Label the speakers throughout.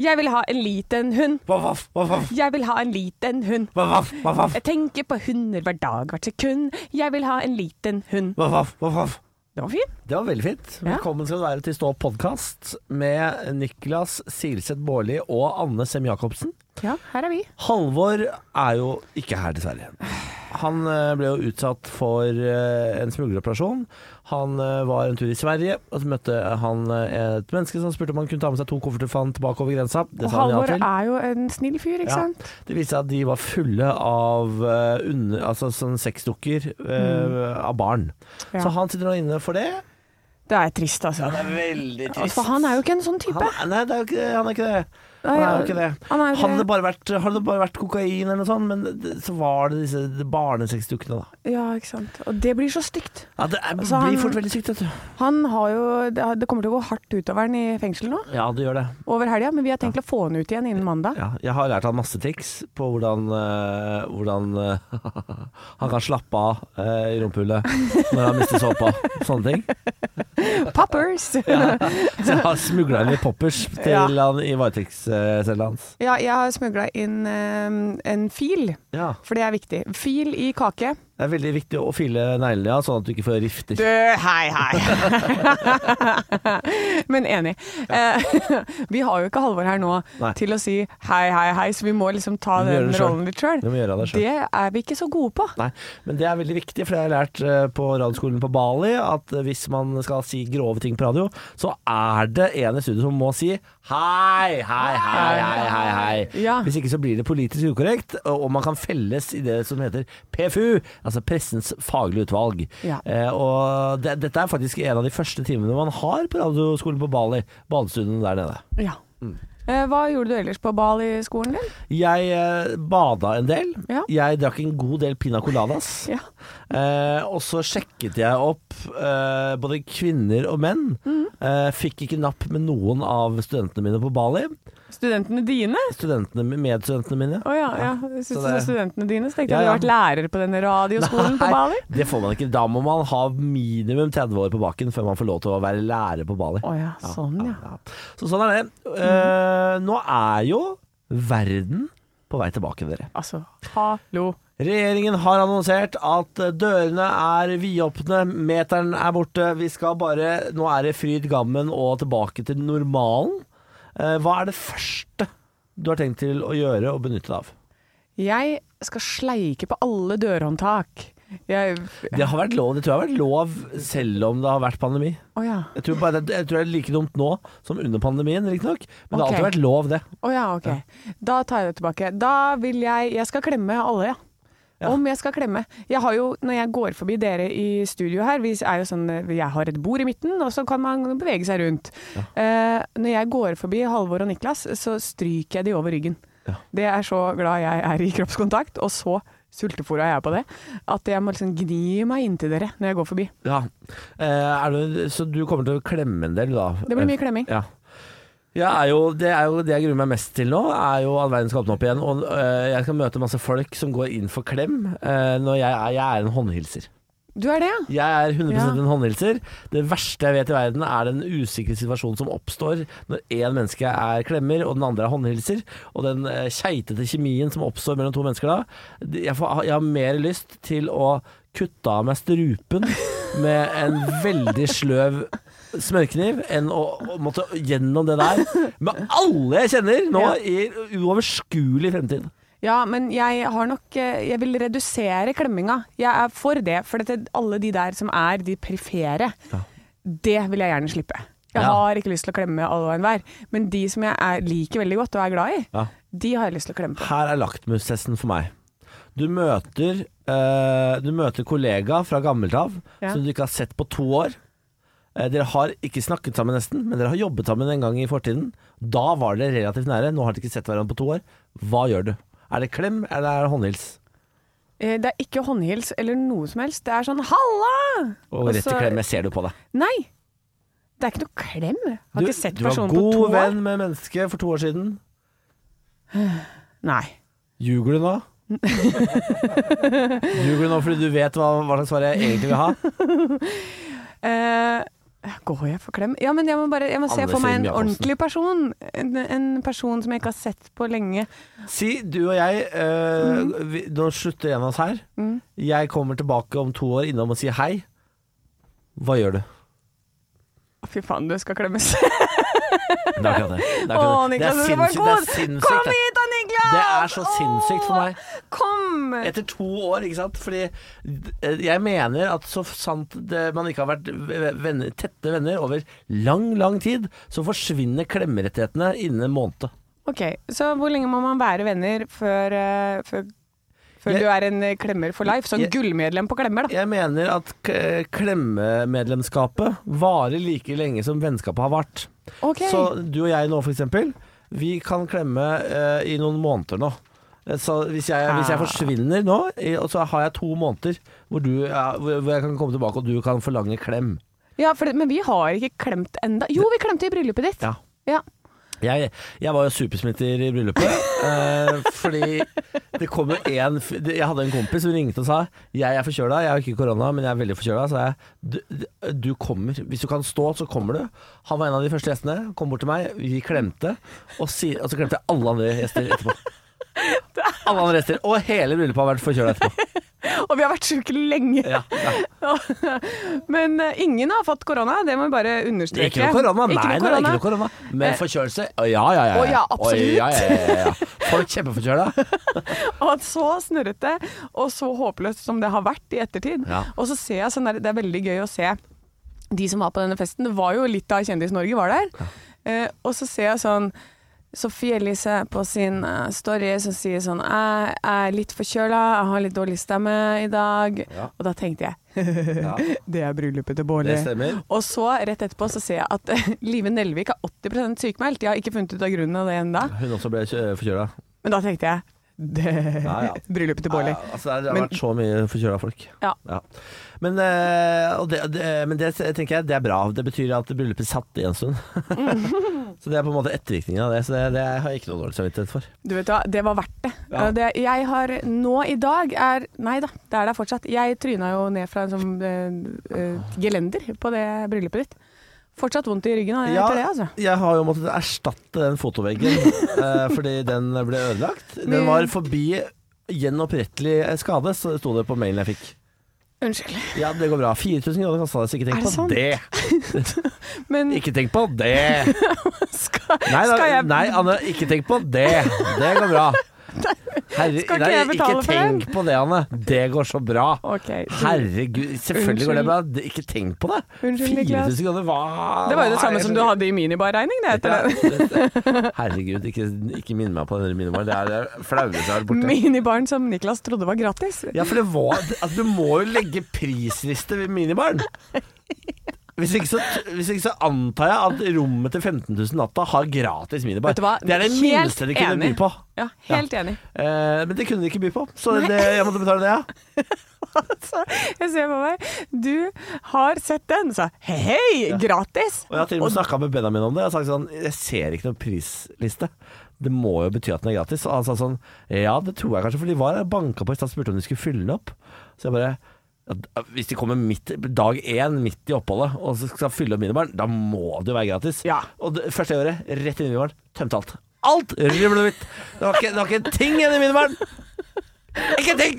Speaker 1: Jeg vil ha en liten hund.
Speaker 2: Voff, voff, voff, voff,
Speaker 1: Jeg vil ha en liten hund.
Speaker 2: voff, voff, voff,
Speaker 1: Jeg tenker på hunder hver dag, hvert sekund. Jeg vil ha en liten hund.
Speaker 2: voff, voff, voff, voff.
Speaker 1: Det var fint.
Speaker 2: Det var veldig fint.
Speaker 1: Ja.
Speaker 2: Velkommen skal du være til Stå podkast med Niklas Silseth Baarli og Anne Sem Jacobsen.
Speaker 1: Ja, her er vi.
Speaker 2: Halvor er jo ikke her, dessverre. Han eh, ble jo utsatt for eh, en smugleroperasjon. Han eh, var en tur i Sverige, og så møtte han eh, et menneske som spurte om han kunne ta med seg to kofferter for han tilbake over grensa. Det
Speaker 1: Og
Speaker 2: sa han ja
Speaker 1: Halvor
Speaker 2: til.
Speaker 1: er jo en snill fyr, ikke
Speaker 2: Ja.
Speaker 1: sant?
Speaker 2: Det viste seg at de var fulle av eh, under, altså sånn sexdukker eh, av barn.
Speaker 1: Mm. Ja.
Speaker 2: Så han sitter nå inne for det.
Speaker 1: Det er trist, altså.
Speaker 2: Det er veldig
Speaker 1: Altså, For han er jo ikke en sånn type.
Speaker 2: Han, nei, det er jo ikke, han er ikke det.
Speaker 1: Nei,
Speaker 2: Han er jo ikke det.
Speaker 1: han er jo ikke
Speaker 2: Hadde det
Speaker 1: det.
Speaker 2: bare vært, hadde det bare vært kokain eller noe sånt, men det, så var det disse barnesexdukkene, da.
Speaker 1: Ja, ikke sant. Og det blir så stygt.
Speaker 2: Ja, det er,
Speaker 1: Altså,
Speaker 2: blir
Speaker 1: han-
Speaker 2: fort veldig sykt, vet du.
Speaker 1: Han har jo Det det kommer til å gå hardt utover han i fengsel nå,
Speaker 2: Ja, det gjør det.
Speaker 1: over helga, men vi har tenkt å få han ut igjen innen mandag.
Speaker 2: Ja, jeg har lært han masse triks på hvordan, eh, hvordan eh, han kan slappe av eh, i rumpehullet når han mister såpa. Sånne ting.
Speaker 1: Poppers!
Speaker 2: Så jeg har smugla inn litt poppers til
Speaker 1: Ja.
Speaker 2: han i varetektscella hans.
Speaker 1: Ja, jeg har smugla inn eh, en fil,
Speaker 2: Ja.
Speaker 1: for det er viktig. Fil i kake.
Speaker 2: Det er veldig viktig å file neglene, ja, sånn at du ikke får rifter.
Speaker 1: Du, hei, hei. Men enig. Eh, vi har jo ikke Halvor her nå
Speaker 2: Nei.
Speaker 1: til å si hei, hei, hei, så vi må liksom ta
Speaker 2: Vi må gjøre
Speaker 1: den
Speaker 2: det selv.
Speaker 1: rollen litt sjøl.
Speaker 2: Du må gjøre det sjøl.
Speaker 1: Det er vi ikke så gode på.
Speaker 2: Nei, men det er veldig viktig, for det har jeg lært eh, på radioskolen på Bali, at eh, hvis man skal si grove ting på radio, så er det en i studio som må si hei, hei, hei, hei, hei, hei.
Speaker 1: Ja.
Speaker 2: Hvis ikke så blir det politisk ukorrekt, og og man kan felles i det som heter PFU, altså pressens faglige utvalg.
Speaker 1: Ja.
Speaker 2: Eh, og det, dette er faktisk en av de første timene man har på radioskolen på Bali, badestuen der nede.
Speaker 1: Ja.
Speaker 2: Mm.
Speaker 1: Eh, hva gjorde du ellers på Bali-skolen din?
Speaker 2: Jeg eh, bada en del.
Speaker 1: Ja.
Speaker 2: Jeg drakk en god del pina coladas.
Speaker 1: Ja.
Speaker 2: Eh, og så sjekket jeg opp eh, både kvinner og menn.
Speaker 1: Mm.
Speaker 2: Eh, fikk ikke napp med noen av studentene mine på Bali.
Speaker 1: Studentene dine?
Speaker 2: Studentene, medstudentene mine.
Speaker 1: Å ja, ja. Jeg synes
Speaker 2: så
Speaker 1: det var
Speaker 2: det-
Speaker 1: studentene dine, så tenkte jeg
Speaker 2: Ja,
Speaker 1: du
Speaker 2: ja.
Speaker 1: hadde vært lærer på denne radioskolen på
Speaker 2: Nei,
Speaker 1: Bali.
Speaker 2: Det får man ikke. Da må man ha minimum 30 år på baken før man får lov til å være lærer på Bali.
Speaker 1: Å ja, sånn ja.
Speaker 2: Ja. Så sånn er det. Eh,
Speaker 1: Mm.
Speaker 2: nå er jo verden på vei tilbake, dere.
Speaker 1: Altså, hallo.
Speaker 2: Regjeringen har annonsert at dørene er vidåpne, meteren er borte. Vi skal bare Nå er det fryd gammen og tilbake til normalen. Eh, Hva er det første du har tenkt til å gjøre og benytte deg av?
Speaker 1: Jeg skal sleike på alle dørhåndtak. Jeg Å
Speaker 2: Det har vært lov, det tror jeg har vært lov selv om det har vært pandemi.
Speaker 1: ja.
Speaker 2: Jeg tror, bare, jeg tror det er like dumt nå som under pandemien, riktignok. Men det har alltid
Speaker 1: Ok.
Speaker 2: vært lov, det.
Speaker 1: Å ja, ok. Da tar jeg det tilbake. Da vil jeg Jeg skal klemme alle, ja.
Speaker 2: Ja.
Speaker 1: Om jeg skal klemme. Jeg har jo, når jeg går forbi dere i studio her vi er jo sånn, Jeg har et bord i midten, og så kan man bevege seg rundt. Eh, når jeg går forbi Halvor og Niklas, så stryker jeg de over ryggen.
Speaker 2: Ja.
Speaker 1: Det er så glad jeg er i kroppskontakt, og så sultefòra jeg er på det, at jeg må liksom gni meg inntil dere når jeg går forbi.
Speaker 2: Ja. Eh, Er du, så du kommer til å klemme en del, da?
Speaker 1: Det blir mye klemming.
Speaker 2: Ja. Jeg er jo, det er jo det jeg gruer meg mest til nå, er jo at verden skal åpne opp igjen. Og øh, jeg skal møte masse folk som går inn for klem. øh, når jeg er, jeg er en håndhilser.
Speaker 1: Du er det, ja?
Speaker 2: Jeg er 100
Speaker 1: Ja.
Speaker 2: en håndhilser. Det verste jeg vet i verden, er den usikre situasjonen som oppstår når én menneske er klemmer, og den andre er håndhilser. Og den øh, keitete kjemien som oppstår mellom to mennesker da. det- Jeg, får, jeg har mer lyst til å kutte av meg strupen med en veldig sløv smørkniv enn å, å måtte gjennom det der med alle jeg kjenner nå
Speaker 1: Ja.
Speaker 2: i uoverskuelig fremtid.
Speaker 1: Ja, men jeg har nok eh, Jeg vil redusere klemminga. Jeg er for det, for dette, alle de der som er de perifere, det vil jeg gjerne slippe. Jeg
Speaker 2: Ja.
Speaker 1: har ikke lyst til å klemme alle og enhver, men de som jeg er, liker veldig godt og er glad i,
Speaker 2: Ja.
Speaker 1: de har jeg lyst til å klemme på.
Speaker 2: Her er laktmustesten for meg. Du møter, eh, du møter kollega fra gammelt av
Speaker 1: Ja.
Speaker 2: som du ikke har sett på to år. Eh, dere har ikke snakket sammen nesten, men dere har jobbet sammen en gang i fortiden. Da var dere relativt nære, nå har dere ikke sett hverandre på to år. Hva gjør du? Er det klem, eller er det håndhils?
Speaker 1: Eh, Det er ikke håndhils eller noe som helst. Det er sånn 'halla!'
Speaker 2: Og rett til
Speaker 1: så-
Speaker 2: klem, jeg ser det på deg.
Speaker 1: Nei! Det er ikke noe klem. Jeg har
Speaker 2: Du,
Speaker 1: ikke sett
Speaker 2: du var
Speaker 1: personen på to
Speaker 2: god
Speaker 1: år.
Speaker 2: venn med mennesket for to år siden.
Speaker 1: Nei.
Speaker 2: Ljuger du nå? Ljuger du nå fordi du vet hva, hva slags svar jeg egentlig vil ha?
Speaker 1: Eh, Går jeg for klem? Ja, men jeg må bare jeg må se
Speaker 2: Anne
Speaker 1: for meg en
Speaker 2: Sem Jacobsen.
Speaker 1: ordentlig person. En, en person som jeg ikke har sett på lenge.
Speaker 2: Si du og jeg eh,
Speaker 1: Mm.
Speaker 2: vi, Nå slutter en av oss her. Jeg kommer tilbake om to år innom og sier hei. Hva gjør du?
Speaker 1: Å, Fy faen, du skal klemmes.
Speaker 2: Det er akkurat det. Det er,
Speaker 1: Å,
Speaker 2: akkurat det. Det er
Speaker 1: Niklas, du var
Speaker 2: sinnssykt. Det er
Speaker 1: god! Kom
Speaker 2: sinnssykt. det.
Speaker 1: hit da, Niklas!
Speaker 2: Det er så sinnssykt for meg.
Speaker 1: Åh, Kom!
Speaker 2: Etter to år, ikke sant? Fordi eh, jeg mener at så sant det, man ikke har vært v- venner, tette venner over lang, lang tid, så forsvinner klemmerettighetene innen en måned.
Speaker 1: Ok, så hvor lenge må man være venner før, eh, før, før
Speaker 2: Jeg-
Speaker 1: du er en eh, klemmer for life? Sånn
Speaker 2: Jeg-
Speaker 1: gullmedlem på klemmer, da.
Speaker 2: Jeg mener at k- eh, klemmemedlemskapet varer like lenge som vennskapet har vart.
Speaker 1: Ok.
Speaker 2: Så du og jeg nå, for eksempel, vi kan klemme eh, i noen måneder nå. Eh, Så hvis jeg, hvis jeg
Speaker 1: Ah.
Speaker 2: forsvinner nå, eh, og så har jeg to måneder hvor, du, ja, hvor hvor jeg kan komme tilbake og du kan forlange klem.
Speaker 1: Ja, for det, men vi har ikke klemt enda. Jo, vi klemte i bryllupet ditt.
Speaker 2: Ja.
Speaker 1: Ja.
Speaker 2: Jeg, jeg var jo supersmitter i bryllupet, eh, fordi det kom jo en f- det- Jeg hadde en kompis som ringte og sa Jeg er forkjøla, jeg har ikke korona, men jeg er veldig forkjøla. Så jeg du, du kommer. Hvis du kan stå, så kommer du. Han var en av de første gjestene. Kom bort til meg, vi klemte. Og, si, og så klemte jeg alle andre gjester etterpå. Alle andre gjester. Og hele bryllupet har vært forkjøla etterpå.
Speaker 1: Og vi har vært syke lenge.
Speaker 2: Ja, ja.
Speaker 1: Men eh, ingen har fått korona, det må vi bare understreke.
Speaker 2: Ikke noe korona, nei, nei,
Speaker 1: Ikke noe
Speaker 2: ikke noe korona. Men
Speaker 1: Eh.
Speaker 2: forkjølelse, å ja ja ja.
Speaker 1: Å, ja,
Speaker 2: Å, ja, ja, ja, ja. Folk kjempeforkjøla.
Speaker 1: Og at så snurrete og så håpløst som det har vært i ettertid.
Speaker 2: Ja.
Speaker 1: Og så ser jeg sånn der, det er veldig gøy å se de som var på denne festen. Det var jo litt av Kjendis-Norge var der. Eh, og så ser jeg sånn Sofie Elise på sin eh, story som sier sånn Jeg er litt forkjøla, jeg har litt dårlig stemme i dag.
Speaker 2: Ja.
Speaker 1: Og da tenkte jeg
Speaker 2: Ja.
Speaker 1: det er bryllupet til Bårli.
Speaker 2: Det stemmer.
Speaker 1: Og så rett etterpå så ser jeg at Live Nelvik er 80 sykmeldt. Jeg har ikke funnet ut av grunnen av det ennå.
Speaker 2: Hun også ble kjø- forkjøla.
Speaker 1: Men da tenkte jeg det,
Speaker 2: Ja, ja.
Speaker 1: Bryllupet til Bårli.
Speaker 2: Ja, altså, det har
Speaker 1: Men-
Speaker 2: vært så mye forkjøla folk.
Speaker 1: Ja.
Speaker 2: Men, eh, og det, det, men det tenker jeg det er bra. Det betyr at bryllupet satt i en stund.
Speaker 1: Mm.
Speaker 2: så det er på en måte ettervirkningen av det. Så det, det har jeg ikke noe dårlig samvittighet for.
Speaker 1: Du vet hva, det var verdt det.
Speaker 2: Ja.
Speaker 1: Eh, det jeg har nå i dag er Nei da, det er der fortsatt. Jeg tryna jo ned fra en sånn eh, eh, gelender på det bryllupet ditt. Fortsatt vondt i ryggen av det,
Speaker 2: Ja.
Speaker 1: etter det, altså.
Speaker 2: Jeg har jo måttet erstatte den fotoveggen eh, fordi den ble ødelagt. Den var forbi gjenopprettelig skade, så sto det på mailen jeg fikk.
Speaker 1: Unnskyld.
Speaker 2: Ja, det går bra. 4000 kroner kosta det, så ikke
Speaker 1: Er
Speaker 2: tenk
Speaker 1: det
Speaker 2: på
Speaker 1: sant?
Speaker 2: det.
Speaker 1: Men
Speaker 2: Ikke tenk på det.
Speaker 1: skal,
Speaker 2: Nei, da,
Speaker 1: skal jeg
Speaker 2: nei, Anne, ikke tenk på det. Det går bra. Herre,
Speaker 1: Skal ikke
Speaker 2: nei,
Speaker 1: jeg betale
Speaker 2: ikke
Speaker 1: for den?
Speaker 2: tenk på det, Anne. Det går så bra.
Speaker 1: OK. du-
Speaker 2: Herregud, selvfølgelig går det bra. Det- Ikke tenk på det.
Speaker 1: Unnskyld, Niklas.
Speaker 2: 4000 kroner, hva
Speaker 1: Det var jo det samme som du hadde i minibarregning, det, etter det.
Speaker 2: Herregud, ikke, ikke minn meg på den minimalen. Det er det flaueste jeg har vært borte.
Speaker 1: Minibaren som Niklas trodde var gratis.
Speaker 2: Ja, for det var altså, Du må jo legge prisliste ved minibaren. Hvis ikke, så, hvis ikke så antar jeg at rommet til 15 000 natta har gratis minibar.
Speaker 1: Vet du hva?
Speaker 2: Det er det
Speaker 1: Helt
Speaker 2: minste de kunne by
Speaker 1: enig.
Speaker 2: på.
Speaker 1: Ja, helt enig.
Speaker 2: Eh, men det kunne de ikke by på, så det, jeg måtte betale det, ja.
Speaker 1: Så Altså, jeg ser på meg Du har sett den, sa hei, hei, gratis!
Speaker 2: Og jeg har til og med snakka med Benjamin om det. Jeg har sagt sånn Jeg ser ikke noen prisliste. Det må jo bety at den er gratis. Og han sa sånn Ja, det tror jeg kanskje, for de var her og banka på i stad og spurte om de skulle fylle den opp. Så jeg bare ja, d- hvis de kommer midt, dag én, midt i oppholdet, og så skal fylle opp minibaren, da må det jo være gratis.
Speaker 1: Ja.
Speaker 2: Og det, første jeg gjorde, rett inn i minibaren, tømte alt. Alt rublehvitt! Det, var ikke- det var ikke en ting igjen i minibaren! Ikke en ting!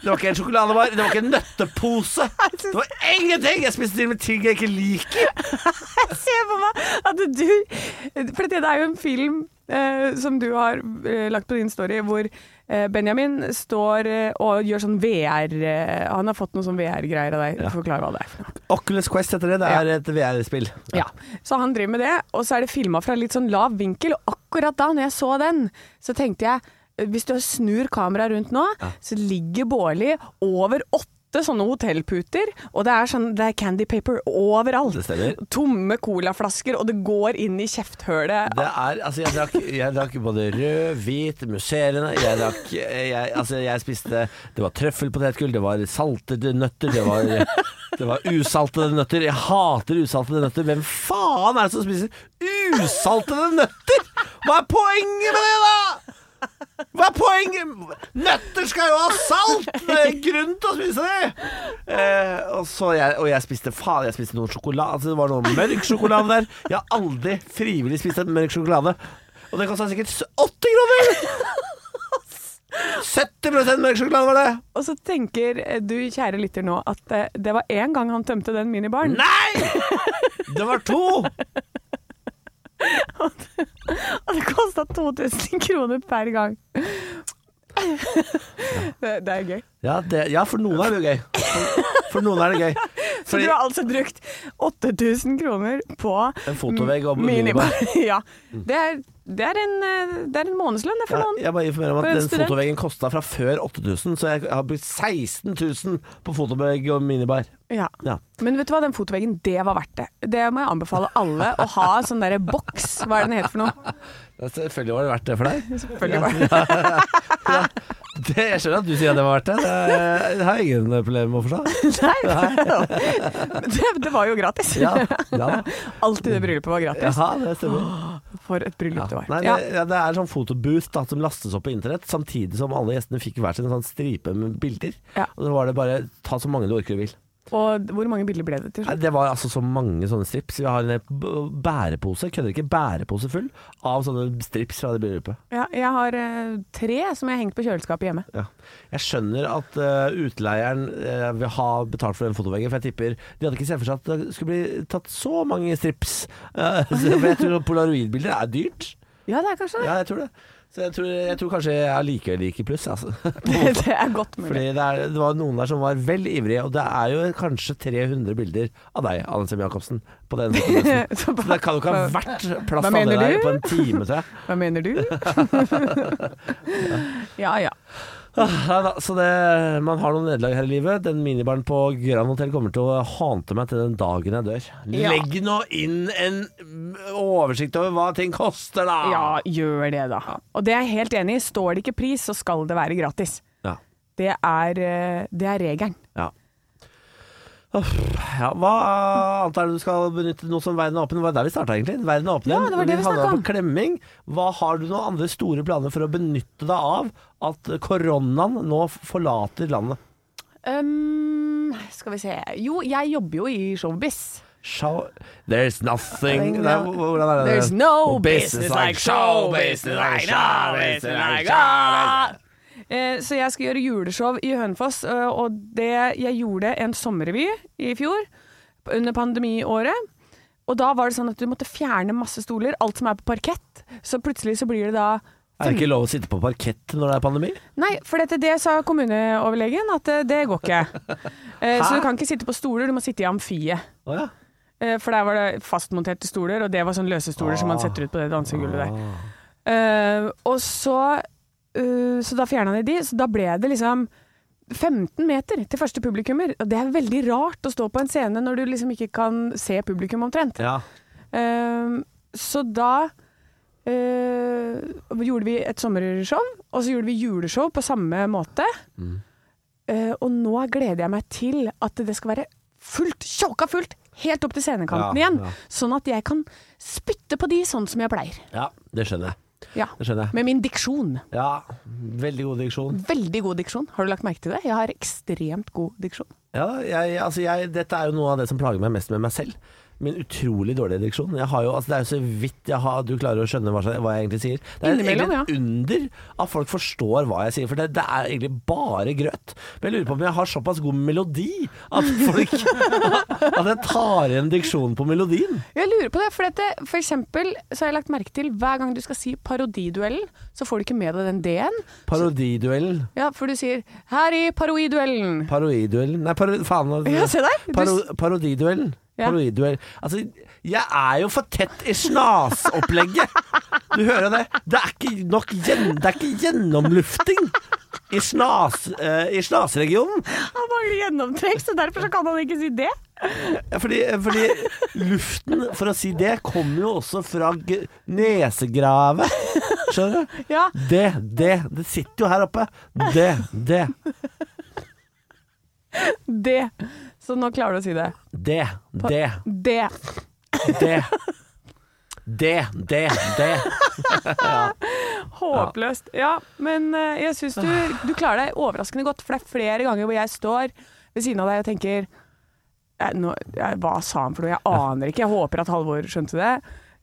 Speaker 2: Det var ikke en sjokoladebar, det var ikke en nøttepose. Det var ingenting! Jeg spiste til og med ting jeg ikke liker.
Speaker 1: Se på meg at du For det er jo en film eh, som du har eh, lagt på din story, hvor eh, Benjamin står eh, og gjør sånn VR eh, Han har fått noen sånn VR-greier av deg.
Speaker 2: Ja.
Speaker 1: Forklar hva det er. for noe.
Speaker 2: Oculus Quest heter det. Det er et VR-spill.
Speaker 1: Ja. Så han driver med det, og så er det filma fra litt sånn lav vinkel. Og akkurat da, når jeg så den, så tenkte jeg eh, hvis du snur kameraet rundt nå, så ligger Bårli over åtte sånne hotellputer, og det er, sånn, det er candy paper overalt.
Speaker 2: Det stemmer.
Speaker 1: Tomme colaflasker, og det går inn i kjefthølet.
Speaker 2: Det er, altså jeg drakk, jeg drakk både rød, hvit, musserende Jeg drakk jeg, Altså jeg spiste Det var trøffelpotetgull, det var saltede nøtter Det var, det var usaltede nøtter Jeg hater usaltede nøtter Hvem faen er det som spiser usaltede nøtter? Hva er poenget med det da? Hva er poenget? Nøtter skal jo ha salt! Det er en grunn til å spise det! Eh, og, så jeg, og jeg spiste faen, jeg spiste noe sjokolade. Altså, det var noe mørk sjokolade der. Jeg har aldri frivillig spist en mørk sjokolade. Og det kosta sikkert s- 80 kroner! 70 mørk sjokolade var det!
Speaker 1: Og så tenker eh, du, kjære lytter nå, at eh, det var én gang han tømte den minibaren.
Speaker 2: Nei! Det var to!
Speaker 1: Og det kosta 2000 kroner per gang. det, det er gøy.
Speaker 2: Ja, det, ja, for noen er det jo gøy. For, for noen er det gøy.
Speaker 1: Så
Speaker 2: Fordi-
Speaker 1: du har altså brukt 8000 kroner på
Speaker 2: En fotovegg og minibar.
Speaker 1: minibar. ja. Det er, det, er en, eh, det er en månedslønn det for
Speaker 2: Ja,
Speaker 1: noen.
Speaker 2: jeg bare informerer om
Speaker 1: For en
Speaker 2: at den
Speaker 1: student.
Speaker 2: fotoveggen kosta fra før 8000, så jeg har brukt 16 000 på fotovegg og minibar.
Speaker 1: Ja.
Speaker 2: Ja.
Speaker 1: Men vet du hva, den fotoveggen, det var verdt det. Det må jeg anbefale alle å ha sånn derre boks, hva er det den heter for noe?
Speaker 2: Selvfølgelig var det verdt det for deg.
Speaker 1: Selvfølgelig var det
Speaker 2: Det, jeg skjønner at du sier at det var verdt det. Det, er- det har jeg ingen problemer med å forstå.
Speaker 1: Nei, men det, det var jo gratis.
Speaker 2: Ja, ja,
Speaker 1: Alt i det bryllupet var gratis.
Speaker 2: jaha, det stemmer.
Speaker 1: For et bryllup det
Speaker 2: Ja.
Speaker 1: var.
Speaker 2: Nei,
Speaker 1: Ja.
Speaker 2: det, ja, det er sånn fotobooth da, som lastes opp på internett, samtidig som alle gjestene fikk hver sin sånn stripe med bilder.
Speaker 1: Ja.
Speaker 2: Og så var det bare ta så mange du orker og vil.
Speaker 1: Og hvor mange bilder ble det til
Speaker 2: Nei,
Speaker 1: slutt?
Speaker 2: det var altså så mange sånne strips. Vi har en hel b- bærepose, kødder ikke, bærepose full av sånne strips fra det bryllupet.
Speaker 1: Ja, jeg har eh, tre som jeg har hengt på kjøleskapet hjemme.
Speaker 2: Ja. Jeg skjønner at eh, utleieren eh, vil ha betalt for den fotoveggen, for jeg tipper de hadde ikke sett for seg at det skulle bli tatt så mange strips. Eh, så- for jeg tror polaroidbilder er dyrt.
Speaker 1: Ja, det er kanskje det.
Speaker 2: Ja, jeg tror det. Så jeg tror, jeg tror kanskje jeg allikevel gikk i pluss, altså.
Speaker 1: det er godt mulig.
Speaker 2: Fordi det, er, det var noen der som var vel ivrige, og det er jo kanskje 300 bilder av deg, Anne Sem Jacobsen, på den fotobussen.
Speaker 1: Så
Speaker 2: Så det kan jo ikke ha
Speaker 1: hva,
Speaker 2: vært plass
Speaker 1: Hva
Speaker 2: til alle
Speaker 1: mener
Speaker 2: der
Speaker 1: du?
Speaker 2: på en time, tror jeg.
Speaker 1: hva mener du? ja ja.
Speaker 2: Ah, Nei da, så det, man har noen nederlag her i livet. Den minibaren på Grand Hotel kommer til å hante meg til den dagen jeg dør.
Speaker 1: Ja.
Speaker 2: Legg nå inn en mm, oversikt over hva ting koster, da!
Speaker 1: Ja, gjør det, da. Og det er jeg helt enig i. Står det ikke pris, så skal det være gratis.
Speaker 2: Ja.
Speaker 1: Det er, eh, det er regelen.
Speaker 2: ja. Uff, ja, hva annet er det du skal benytte nå som verden er åpen? Det var der vi starta, egentlig. Verden er åpen
Speaker 1: Ja,
Speaker 2: igjen.
Speaker 1: det var det vi
Speaker 2: handlet
Speaker 1: snakket om.
Speaker 2: på klemming. Hva har du noen andre store planer for å benytte deg av at koronaen nå forlater landet?
Speaker 1: Um, skal vi se Jo, jeg jobber jo i showbiz.
Speaker 2: Show There's nothing
Speaker 1: Nothing,
Speaker 2: Nei,
Speaker 1: ja.
Speaker 2: hv- hvordan er det?
Speaker 1: There's no
Speaker 2: Oh,
Speaker 1: business like show business like show business like show Eh, Så jeg skal gjøre juleshow i Hønefoss, eh, og det jeg gjorde en sommerrevy i fjor, p- under pandemiåret. Og da var det sånn at du måtte fjerne masse stoler, alt som er på parkett. Så plutselig så blir det da
Speaker 2: Er det ikke lov å sitte på parkett når det er pandemi?
Speaker 1: Nei, for dette, det sa kommuneoverlegen at eh, det går ikke. Eh, Så du kan ikke sitte på stoler, du må sitte i amfiet.
Speaker 2: Å ja.
Speaker 1: Eh, For der var det fastmonterte stoler, og det var sånn løse stoler som man
Speaker 2: Ah.
Speaker 1: setter ut på det dansegulvet der. Eh, og så eh, Så da fjerna de de, så da ble det liksom 15 meter til første publikummer. Og det er veldig rart å stå på en scene når du liksom ikke kan se publikum omtrent.
Speaker 2: Ja.
Speaker 1: Eh, så da eh, gjorde vi et sommershow, og så gjorde vi juleshow på samme måte.
Speaker 2: Mm.
Speaker 1: Eh, og nå gleder jeg meg til at det skal være fullt, tjåka fullt, helt opp til scenekanten
Speaker 2: Ja,
Speaker 1: igjen.
Speaker 2: ja.
Speaker 1: Sånn at jeg kan spytte på de sånn som jeg pleier.
Speaker 2: ja, det skjønner jeg.
Speaker 1: Ja.
Speaker 2: Det skjønner jeg.
Speaker 1: Med min diksjon.
Speaker 2: Ja, veldig god diksjon.
Speaker 1: Veldig god diksjon. Har du lagt merke til det? Jeg har ekstremt god diksjon.
Speaker 2: Ja, jeg, altså jeg, dette er jo noe av det som plager meg mest med meg selv. Min utrolig dårlige diksjon. Jeg har jo, altså det er jo så vidt jeg har, du klarer å skjønne hva, hva jeg egentlig sier. Det er
Speaker 1: Innimellom,
Speaker 2: egentlig et under at folk forstår hva jeg sier, for det, det er egentlig bare grøt. Men jeg lurer på om jeg har såpass god melodi at folk At jeg tar igjen diksjonen på melodien.
Speaker 1: Jeg lurer på det, for dette, for eksempel så har jeg lagt merke til hver gang du skal si parodiduellen, så får du ikke med deg den D-en.
Speaker 2: Parodiduellen.
Speaker 1: Ja, for du sier 'her i parodiduellen'.
Speaker 2: Parodiduellen Nei, paro, faen. hva-
Speaker 1: Ja, se der! Du-
Speaker 2: Paro, parodiduellen.
Speaker 1: Ja.
Speaker 2: Parodiduell. Altså, jeg er jo for tett i snasopplegget. Du hører det? Det er ikke nok gjen, Det er ikke gjennomlufting i, snas, eh, i snasregionen.
Speaker 1: Han mangler gjennomtrekk, så derfor så kan han ikke si det.
Speaker 2: Ja, Fordi, fordi luften, for å si det, kommer jo også fra g nesegravet. Skjønner du?
Speaker 1: Ja,
Speaker 2: Det, det. Det sitter jo her oppe. Det, det,
Speaker 1: det. Så nå klarer du å si det.
Speaker 2: det, det,
Speaker 1: Det.
Speaker 2: det. Det, det, det.
Speaker 1: Håpløst. Ja, men eh, jeg syns du, du klarer deg overraskende godt, for det er flere ganger hvor jeg står ved siden av deg og tenker eh, nå, eh, Hva sa han for noe? Jeg aner ikke. Jeg håper at Halvor skjønte det.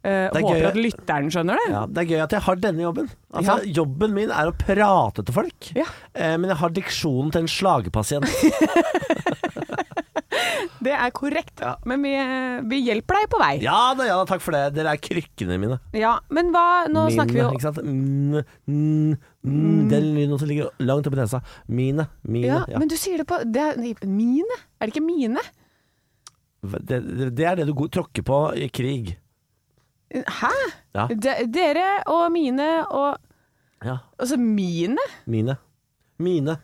Speaker 1: Eh,
Speaker 2: Det er
Speaker 1: håper
Speaker 2: gøy.
Speaker 1: at lytteren skjønner det.
Speaker 2: Ja, det er gøy at jeg har denne jobben. Altså, Jobben min er å prate til folk,
Speaker 1: Ja.
Speaker 2: eh, men jeg har diksjonen til en slagepasient.
Speaker 1: Det er korrekt, men vi, eh, vi hjelper deg på vei. Ja,
Speaker 2: Ja da, ja da, takk for det. Dere er krykkene mine.
Speaker 1: men hva Nå
Speaker 2: Mine,
Speaker 1: snakker vi jo
Speaker 2: Ikke sant? Mm, mm, mm, den lyden som ligger langt oppi nesa. Mine, mine.
Speaker 1: ja,
Speaker 2: Ja,
Speaker 1: Men du sier det på det er, nei, Mine? Er det ikke mine?
Speaker 2: Det, det, det er det du go- tråkker på i krig.
Speaker 1: Hæ?
Speaker 2: Ja.
Speaker 1: De, dere og mine og
Speaker 2: Ja,
Speaker 1: Altså mine?
Speaker 2: mine. Mine.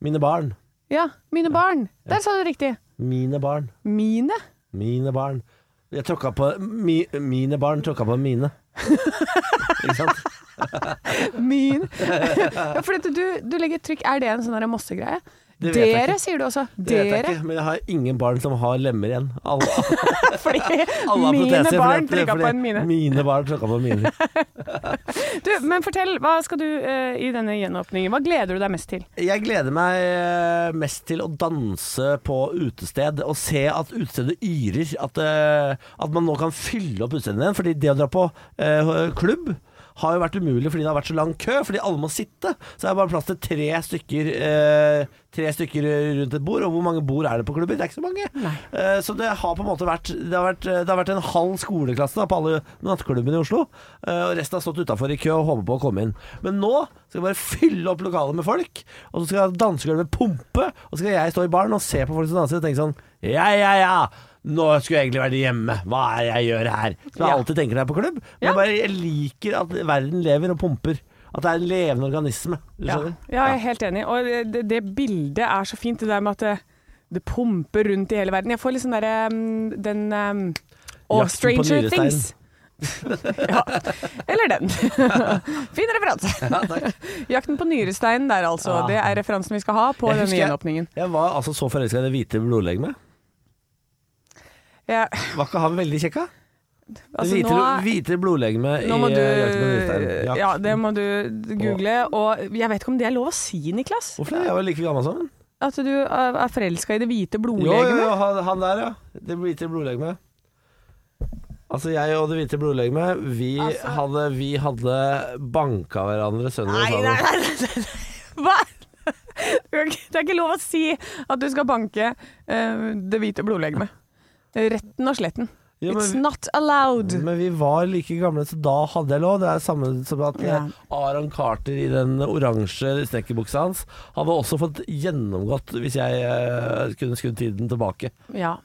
Speaker 2: Mine barn.
Speaker 1: Ja, mine barn. Der sa du det riktig.
Speaker 2: Mine barn.
Speaker 1: Mine?
Speaker 2: Mine barn. Jeg tråkka på mi, Mine barn tråkka på mine. Ikke sant?
Speaker 1: Mine. ja, for dette, du, du legger trykk Er det en sånn der mossegreie?
Speaker 2: Det vet jeg
Speaker 1: Dere,
Speaker 2: ikke.
Speaker 1: sier du også.
Speaker 2: Det vet jeg
Speaker 1: Dere.
Speaker 2: ikke, men jeg har ingen barn som har lemmer igjen. Alle,
Speaker 1: Fordi
Speaker 2: alle har
Speaker 1: mine
Speaker 2: proteser,
Speaker 1: barn
Speaker 2: fordi-
Speaker 1: trykka på
Speaker 2: fordi
Speaker 1: en mine.
Speaker 2: Mine barn tråkka på mine.
Speaker 1: Du, men fortell, hva skal du eh, i denne gjenåpningen? Hva gleder du deg mest til?
Speaker 2: Jeg gleder meg eh, mest til å danse på utested og se at utestedet yrer. At, eh, at man nå kan fylle opp utestedet igjen. Fordi det å dra på eh, klubb har jo vært umulig fordi det har vært så lang kø. Fordi alle må sitte. Så er det bare plass til tre stykker, eh, tre stykker rundt et bord. Og hvor mange bord er det på klubber? Det er ikke så mange. Eh, så det har på en måte vært Det har vært, det har vært en halv skoleklasse da, på alle nattklubbene i Oslo. eh, og resten har stått utafor i kø og håper på å komme inn. Men nå skal jeg bare fylle opp lokalet med folk, og så skal dansegulvet pumpe, og så skal jeg stå i baren og se på folk som danser og tenke sånn Ja, ja, ja. Nå skulle jeg egentlig vært hjemme. Hva er det jeg gjør her? Som jeg
Speaker 1: Ja.
Speaker 2: alltid tenker når jeg er på klubb. Men
Speaker 1: Ja.
Speaker 2: jeg bare jeg liker at verden lever og pumper. At det er en levende organisme. Du
Speaker 1: Ja.
Speaker 2: skjønner?
Speaker 1: ja, jeg er helt enig. Og det- det, det bildet er så fint, det der med at det, det pumper rundt i hele verden. Jeg får litt sånn derre mm, den um,
Speaker 2: Jakten på
Speaker 1: Stranger
Speaker 2: nyresteinen.
Speaker 1: Things. ja. Eller den. fin referanse.
Speaker 2: Ja, takk.
Speaker 1: Jakten på nyresteinen der, altså.
Speaker 2: Ja.
Speaker 1: Det er referansen vi skal ha på
Speaker 2: Ah. Jeg
Speaker 1: denne
Speaker 2: husker jeg-
Speaker 1: gjenåpningen.
Speaker 2: Jeg var altså så forelska i det hvite blodlegemet.
Speaker 1: Ja,
Speaker 2: Var ikke han veldig kjekka?
Speaker 1: altså,
Speaker 2: hvite,
Speaker 1: nå,
Speaker 2: hvite blodlegeme i
Speaker 1: nå må du
Speaker 2: eh, Jakten på Nyresteinen. Ja.
Speaker 1: Ja, det må du google. Og jeg vet ikke om det er lov å si, Niklas?
Speaker 2: Hvorfor det? Jeg var like gammel som han.
Speaker 1: At du er er forelska i det hvite
Speaker 2: Jo, jo,
Speaker 1: blodlegemet?
Speaker 2: jo, han, han der, ja. Det hvite blodlegemet. Altså, jeg og det hvite blodlegemet, vi,
Speaker 1: Altså-
Speaker 2: hadde, vi hadde banka hverandre sønder og
Speaker 1: Nei, nei,
Speaker 2: sammen.
Speaker 1: nei, nei, nei. Hva? Du kan ikke- Det er ikke lov å si at du skal banke eh, det hvite blodlegemet. Retten og sletten.
Speaker 2: Ja, men
Speaker 1: It's
Speaker 2: vi-
Speaker 1: not allowed.
Speaker 2: Men vi var like gamle, så da hadde jeg lov. Det er samme som at eh,
Speaker 1: Ja.
Speaker 2: Aaron Carter i den oransje snekkerbuksa hans hadde også fått gjennomgått hvis jeg eh, kunne skrudd tiden tilbake.
Speaker 1: Ja.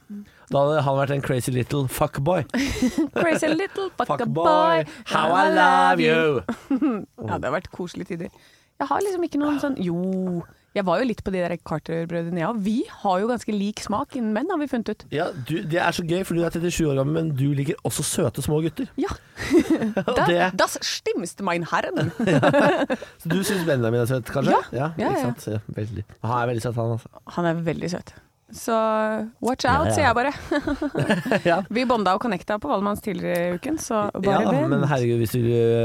Speaker 2: Da hadde han vært en crazy little fuckboy.
Speaker 1: Crazy little fuck a boy,
Speaker 2: Fuckboy, how I love you.
Speaker 1: Ja, det har vært koselige tider. Jeg har liksom ikke noen sånn Jo, jeg var jo litt på de der Carter-brødrene, jeg ja. òg. Vi har jo ganske lik smak innen menn, har vi funnet ut.
Speaker 2: Ja, du, Det er så gøy, for du er 37 år gammel, men du liker også søte små gutter.
Speaker 1: Ja.
Speaker 2: Og
Speaker 1: Da,
Speaker 2: det,
Speaker 1: Das stimmt, mein Herren.
Speaker 2: så du syns Benjamin er søt, kanskje?
Speaker 1: Ja, ja,
Speaker 2: ikke
Speaker 1: ja.
Speaker 2: sant? Ja, veldig. Han er veldig søt, han altså.
Speaker 1: Han er veldig søt. Så watch
Speaker 2: Ja,
Speaker 1: out,
Speaker 2: ja.
Speaker 1: sier jeg bare.
Speaker 2: Ja.
Speaker 1: Vi bonda og connecta på Valmanns tidligere i uken, så
Speaker 2: Ja,
Speaker 1: bare vent.
Speaker 2: men herregud, hvis du,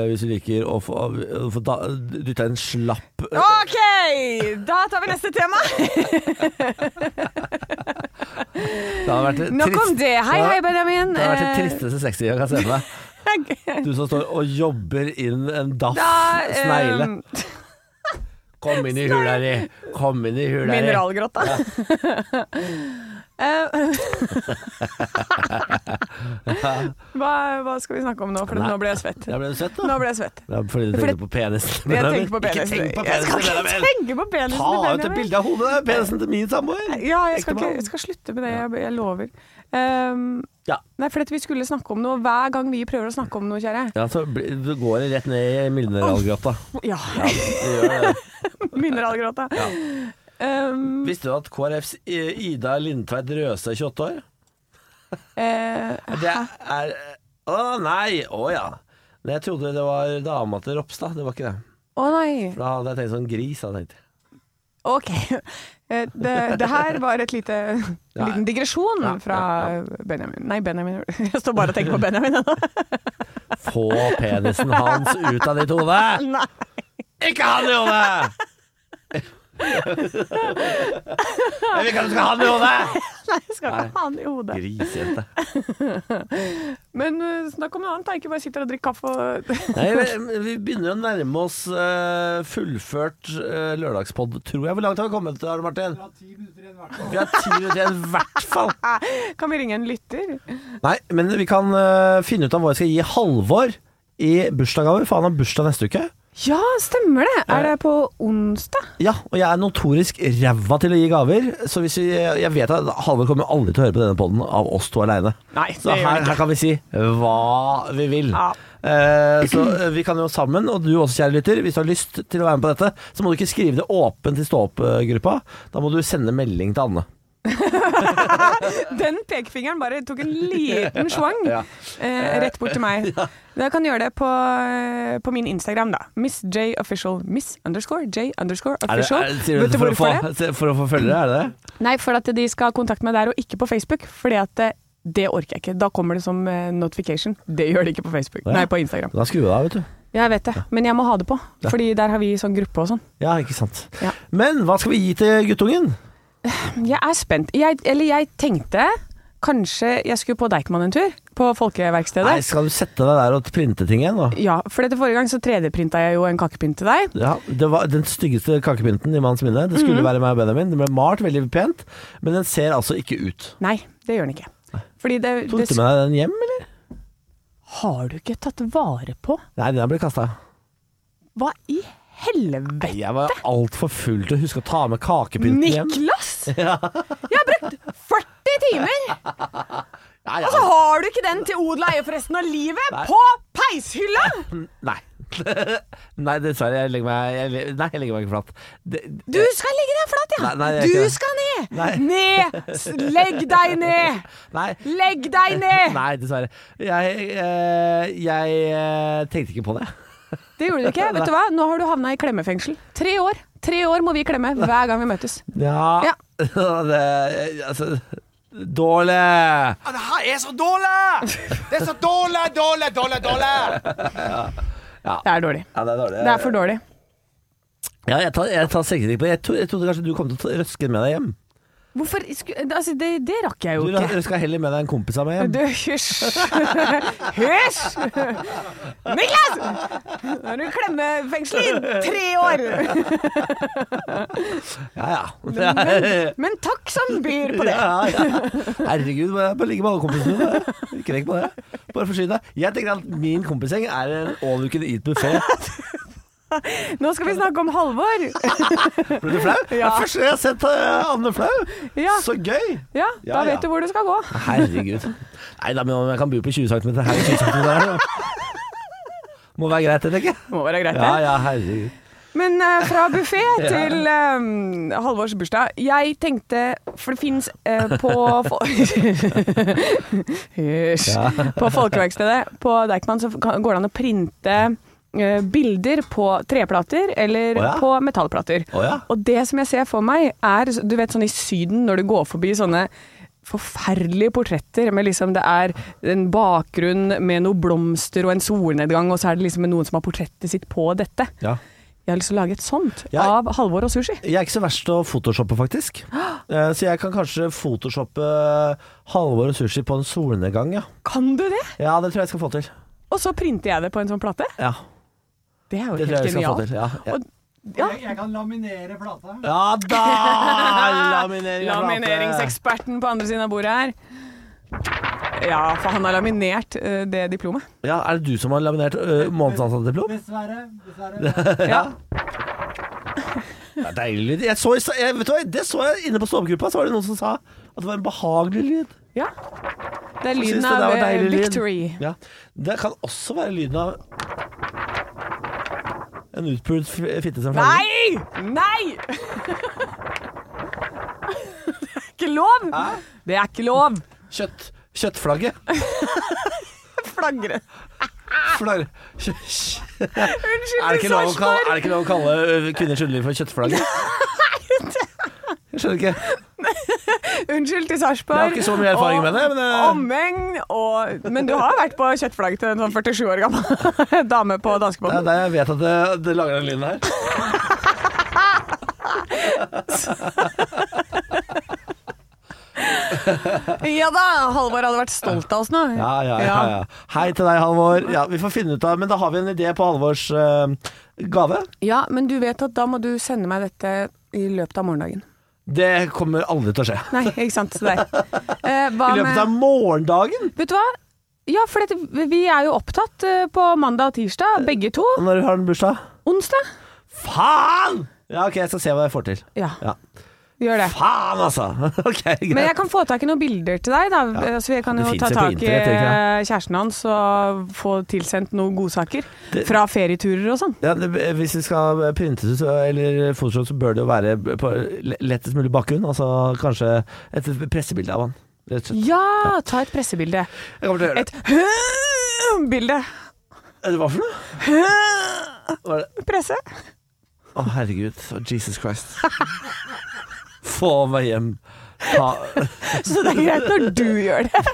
Speaker 2: hvis du liker å få, å få da- dytta en slapp
Speaker 1: OK! Da tar vi neste tema.
Speaker 2: Det hadde vært det
Speaker 1: Nok om
Speaker 2: trist-
Speaker 1: det. Hei, hei, Benjamin.
Speaker 2: Det hadde vært det tristeste sexy jeg kan se for meg.
Speaker 1: Eh,
Speaker 2: Du som står og jobber inn en daff
Speaker 1: Da eh,
Speaker 2: snegle. Kom inn i hula di! Kom inn i hula di!
Speaker 1: Mineralgrotta. Eh, hva, hva skal vi snakke om nå? For
Speaker 2: Nei.
Speaker 1: nå ble jeg svett.
Speaker 2: Ja, ble du søt, da?
Speaker 1: Nå ble jeg svett.
Speaker 2: Ja, fordi du
Speaker 1: For
Speaker 2: tenker på penisen.
Speaker 1: Jeg tenker
Speaker 2: Benjamin.
Speaker 1: på penisen.
Speaker 2: Ikke tenk på
Speaker 1: Jeg
Speaker 2: penisen,
Speaker 1: skal ikke
Speaker 2: Benjamin.
Speaker 1: tenke på penisen til
Speaker 2: Ta ut et
Speaker 1: Benjamin.
Speaker 2: bilde av hodet! Det er penisen til min samboer!
Speaker 1: Ja, jeg skal, ikke,
Speaker 2: Ektemann.
Speaker 1: jeg skal slutte med det, jeg, jeg lover. Ehm,
Speaker 2: Ja.
Speaker 1: Nei, for at vi skulle snakke om noe hver gang vi prøver å snakke om noe, kjære.
Speaker 2: Ja, så bli- du går det rett ned i mineralgrotta.
Speaker 1: Ja,
Speaker 2: Du gjør det.
Speaker 1: mineralgråta. Ehm,
Speaker 2: Visste du at KrFs I- eh, Ida Lindtveit Røse er 28 år?
Speaker 1: eh,
Speaker 2: Det er Å nei! Å ja. Men jeg trodde det var dama til Ropstad. Det var ikke det.
Speaker 1: Å nei.
Speaker 2: For da hadde jeg tenkt sånn gris. Hadde jeg tenkt.
Speaker 1: Å Ok. Eh, Det, det her var et lite, en liten digresjon
Speaker 2: Ja, ja,
Speaker 1: fra Benjamin Nei, Benjamin. Jeg står bare og tenker på Benjamin ennå.
Speaker 2: Få penisen hans ut av ditt hode!
Speaker 1: Nei.
Speaker 2: Ikke han i hodet! Jeg vil ikke at du skal ha han i hodet!
Speaker 1: Nei, jeg skal
Speaker 2: Nei.
Speaker 1: ikke ha han i hodet.
Speaker 2: Grisejente.
Speaker 1: Men eh, snakk om noe annet, da. Ikke bare sitter og drikker kaffe og
Speaker 2: Nei, vi- vi begynner å nærme oss eh, fullført eh, lørdagspod, tror jeg. Hvor langt har vi kommet, Arne Martin? Vi har ti minutter igjen, i hvert fall.
Speaker 1: Kan vi ringe en lytter?
Speaker 2: Nei, men vi kan eh, finne ut av hva jeg skal gi Halvor i bursdagsgave, for han har bursdag neste uke.
Speaker 1: Ja, stemmer det!
Speaker 2: Eh.
Speaker 1: Er det på onsdag?
Speaker 2: Ja, og jeg er notorisk ræva til å gi gaver, så hvis vi, eh, jeg vet at Halvor kommer aldri til å høre på denne poden av oss to aleine.
Speaker 1: Nei,
Speaker 2: Så her, her kan vi si hva vi vil.
Speaker 1: Ja.
Speaker 2: Eh, så eh, vi kan jo sammen, og du også kjære lytter, hvis du har lyst til å være med på dette, så må du ikke skrive det åpent i stå-opp-gruppa. Da må du sende melding til Anne.
Speaker 1: Den pekefingeren bare tok en liten svang
Speaker 2: Ja.
Speaker 1: eh, rett bort til meg. Dere kan gjøre det på, eh, på min Instagram, da. Miss J Official. Miss underscore J underscore
Speaker 2: Er det,
Speaker 1: official.
Speaker 2: er, sier du
Speaker 1: Vet
Speaker 2: det
Speaker 1: du
Speaker 2: for, å
Speaker 1: hvorfor det?
Speaker 2: få- for å få følgere, er det det?
Speaker 1: Nei, for at de skal kontakte meg der og ikke på Facebook. Fordi at eh, det orker jeg ikke. Da kommer det som eh, notification. Det gjør det ikke på Facebook.
Speaker 2: Ja.
Speaker 1: Nei, på Instagram.
Speaker 2: Da skrur du av, vet du.
Speaker 1: Jeg vet det, men jeg må ha det på. Fordi der har vi sånn gruppe og sånn.
Speaker 2: Ja, ikke sant.
Speaker 1: Ja.
Speaker 2: Men hva skal vi gi til guttungen?
Speaker 1: Jeg er spent. Jeg, eller jeg tenkte kanskje jeg skulle på Deichman en tur. På Folkeverkstedet.
Speaker 2: Nei, skal du sette deg der og printe ting igjen, da?
Speaker 1: Ja, for dette forrige gang så 3D-printa jeg jo en kakepynt til deg.
Speaker 2: Ja, det var den styggeste kakepynten i manns minne. Det
Speaker 1: Mhm.
Speaker 2: skulle være meg og Benjamin. Den ble malt veldig pent, men den ser altså ikke ut.
Speaker 1: Nei, det gjør den ikke. Fordi det,
Speaker 2: Tok
Speaker 1: det
Speaker 2: du med deg den hjem, eller?
Speaker 1: Har du ikke tatt vare på
Speaker 2: Nei, den ble kasta.
Speaker 1: Hva i helvete?
Speaker 2: Jeg var altfor full til å huske å ta med kakepynten hjem.
Speaker 1: Niklas! Jeg har brukt 40 timer,
Speaker 2: Nei,
Speaker 1: og så
Speaker 2: ja.
Speaker 1: har du ikke den til odel og eie for resten av livet!
Speaker 2: Nei.
Speaker 1: På peishylla!
Speaker 2: Nei. Nei, dessverre. Jeg legger meg, jeg, le- nei, jeg legger meg ikke flat. Det,
Speaker 1: Du skal ligge deg flat, ja!
Speaker 2: Nei, nei, jeg er
Speaker 1: du
Speaker 2: ikke det.
Speaker 1: skal ned!
Speaker 2: Nei.
Speaker 1: Ned! S- Legg deg ned!
Speaker 2: nei.
Speaker 1: Legg deg ned!
Speaker 2: Nei, dessverre. Jeg, eh, jeg eh, tenkte ikke på det.
Speaker 1: Det gjorde du ikke. Vet du hva? Nå har du havna i klemmefengsel. Tre år. Tre år må vi klemme hver gang vi møtes.
Speaker 2: Ja,
Speaker 1: Ja.
Speaker 2: det, altså, Dårlig!
Speaker 3: Ah, Det her er så dårlig! Det er så dårlig, dårlig, dårlig, dårlig!
Speaker 1: Det er dårlig.
Speaker 2: Ja, det er dårlig.
Speaker 1: Det er for dårlig.
Speaker 2: Ja, jeg tar, jeg tar selvkritikk på det. Jeg, tro, jeg trodde kanskje du kom til å ta- røske med deg hjem.
Speaker 1: Hvorfor sku, altså, det, det rakk jeg
Speaker 2: Du
Speaker 1: jo ikke.
Speaker 2: røska heller med deg en kompis av meg hjem.
Speaker 1: Du, hysj! Hysj! Niklas! Nå er du i klemmefengsel i tre år!
Speaker 2: Ja, ja.
Speaker 1: Men, men takk som byr på det.
Speaker 2: Ja, ja. Herregud, bare, bare ligge med alle kompisene dine. Ikke tenk på det. Bare forsyn deg. Jeg tenker at min kompisgjeng er en all you can eat buffé.
Speaker 1: Nå skal vi snakke om Halvor.
Speaker 2: Ble du flau? Det er
Speaker 1: Ja.
Speaker 2: første gang jeg har sett eh, Anne flau.
Speaker 1: Ja.
Speaker 2: Så gøy!
Speaker 1: Ja,
Speaker 2: Ja,
Speaker 1: da
Speaker 2: ja.
Speaker 1: vet du hvor du skal gå.
Speaker 2: Herregud. Nei da, men om jeg kan bo på 20 cm her og 20 cm der da. Må være greit, eller ikke?
Speaker 1: Må være greit,
Speaker 2: Ja,
Speaker 1: det.
Speaker 2: ja, herregud.
Speaker 1: Men eh, fra buffé til eh, Halvors bursdag. Jeg tenkte, for det fins på fol- Hysj. På Folkeverkstedet på Deichman så kan- går det an å printe eh, bilder på treplater eller
Speaker 2: Å ja.
Speaker 1: på metallplater.
Speaker 2: Å ja.
Speaker 1: Og det som jeg ser for meg, er Du vet sånn i Syden, når du går forbi sånne forferdelige portretter med liksom Det er en bakgrunn med noen blomster og en solnedgang, og så er det liksom noen som har portrettet sitt på dette.
Speaker 2: Ja.
Speaker 1: Jeg har lyst til å lage et sånt
Speaker 2: Jeg-
Speaker 1: av Halvor og sushi.
Speaker 2: Jeg er ikke så verst til å photoshoppe, faktisk. Eh, Så jeg kan kanskje photoshoppe eh, Halvor og sushi på en solnedgang, ja.
Speaker 1: Kan du det?
Speaker 2: Ja, det tror jeg jeg skal få til.
Speaker 1: Og så printer jeg det på en sånn plate.
Speaker 2: Ja,
Speaker 1: Det er jo
Speaker 2: det tror jeg
Speaker 1: helt
Speaker 2: jeg skal få
Speaker 1: genialt.
Speaker 2: til. Ja, ja.
Speaker 1: Og- Ja.
Speaker 3: Jeg kan laminere plata.
Speaker 2: ja da! Laminering av plate.
Speaker 1: Lamineringseksperten på andre siden av bordet her. Ja, for han har laminert eh, det diplomet.
Speaker 2: Ja, er det du som har laminert ø, månedsansattdiplom?
Speaker 3: Dessverre. dessverre.
Speaker 1: Ja.
Speaker 2: Det er deilig. Jeg så, i sta- jeg, vet du hva, det så jeg inne på ståoppgruppa, så var det noen som sa at det var en behagelig lyd.
Speaker 1: ja. Det er
Speaker 2: Jeg
Speaker 1: lyden
Speaker 2: synes det
Speaker 1: av
Speaker 2: der var
Speaker 1: eh,
Speaker 2: deilig lyd.
Speaker 1: victory.
Speaker 2: Ja. Det kan også være lyden av en utpult f- fitte som flanger.
Speaker 1: Nei! Nei! Det er ikke lov! Det er ikke lov!
Speaker 2: Kjøtt, kjøttflagget.
Speaker 1: Flagre.
Speaker 2: Flagg. Kjø- kjø-
Speaker 1: Unnskyld,
Speaker 2: Er det ikke lov å
Speaker 1: Sarpsborg.
Speaker 2: øh, kalle, er det ikke lov å kalle ø, kvinners underliv for kjøttflagget? Jeg skjønner ikke.
Speaker 1: Unnskyld til
Speaker 2: Jeg har
Speaker 1: Sarpsborg.
Speaker 2: ikke så mye erfaring
Speaker 1: og
Speaker 2: med det, men eh,
Speaker 1: Omegn og Men du har vært på kjøttflagget til en sånn 47 år gammel dame på
Speaker 2: det er
Speaker 1: danskebåten.
Speaker 2: der jeg vet at det, det lager den lyden her.
Speaker 1: Ja da! Halvor hadde vært stolt av oss nå.
Speaker 2: Ja, ja, ja, ja. Hei til deg, Halvor. Ja, vi får finne ut av Men da har vi en idé på Halvors eh, gave.
Speaker 1: Ja, men du vet at da må du sende meg dette i løpet av morgendagen.
Speaker 2: Det kommer aldri til å skje.
Speaker 1: Nei, ikke sant. Så der. Eh, hva
Speaker 2: I løpet av
Speaker 1: med
Speaker 2: morgendagen,
Speaker 1: Vet du hva? Ja, for dette, vi er jo opptatt eh, på mandag og tirsdag, begge to.
Speaker 2: når har den bursdag?
Speaker 1: Onsdag?
Speaker 2: Faen! Ja, ok, jeg skal se hva jeg får til.
Speaker 1: Ja,
Speaker 2: Ja.
Speaker 1: gjør det.
Speaker 2: Faen, altså! ok,
Speaker 1: Men
Speaker 2: greit.
Speaker 1: jeg kan få tak i noen bilder til deg, da. Så vi kan
Speaker 2: Det
Speaker 1: jo
Speaker 2: finnes
Speaker 1: ta
Speaker 2: jo på
Speaker 1: tak i
Speaker 2: internett, ikke
Speaker 1: eh, kjæresten hans og få tilsendt noen godsaker.
Speaker 2: Det-
Speaker 1: Fra ferieturer og sånn.
Speaker 2: Ja, det, hvis det skal printes ut eller photoshoot, så bør det jo være på lettest mulig bakgrunn. Altså kanskje et pressebilde av han. Rett og slett.
Speaker 1: Ja, ta et pressebilde.
Speaker 2: Jeg kommer til å gjøre
Speaker 1: Et bilde.
Speaker 2: det. Hva for noe? Var det?
Speaker 1: Presse.
Speaker 2: Å, herregud. Å, Jesus Christ. Få meg hjem. Ta.
Speaker 1: Så det er greit når du gjør det.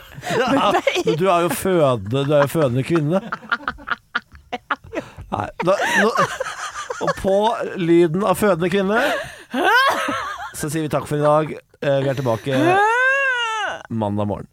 Speaker 2: Ja, men du er jo fødende, du er jo fødende kvinne. Nei, nå, nå, og på lyden av fødende kvinne så sier vi takk for i dag. Eh, Vi er tilbake mandag morgen.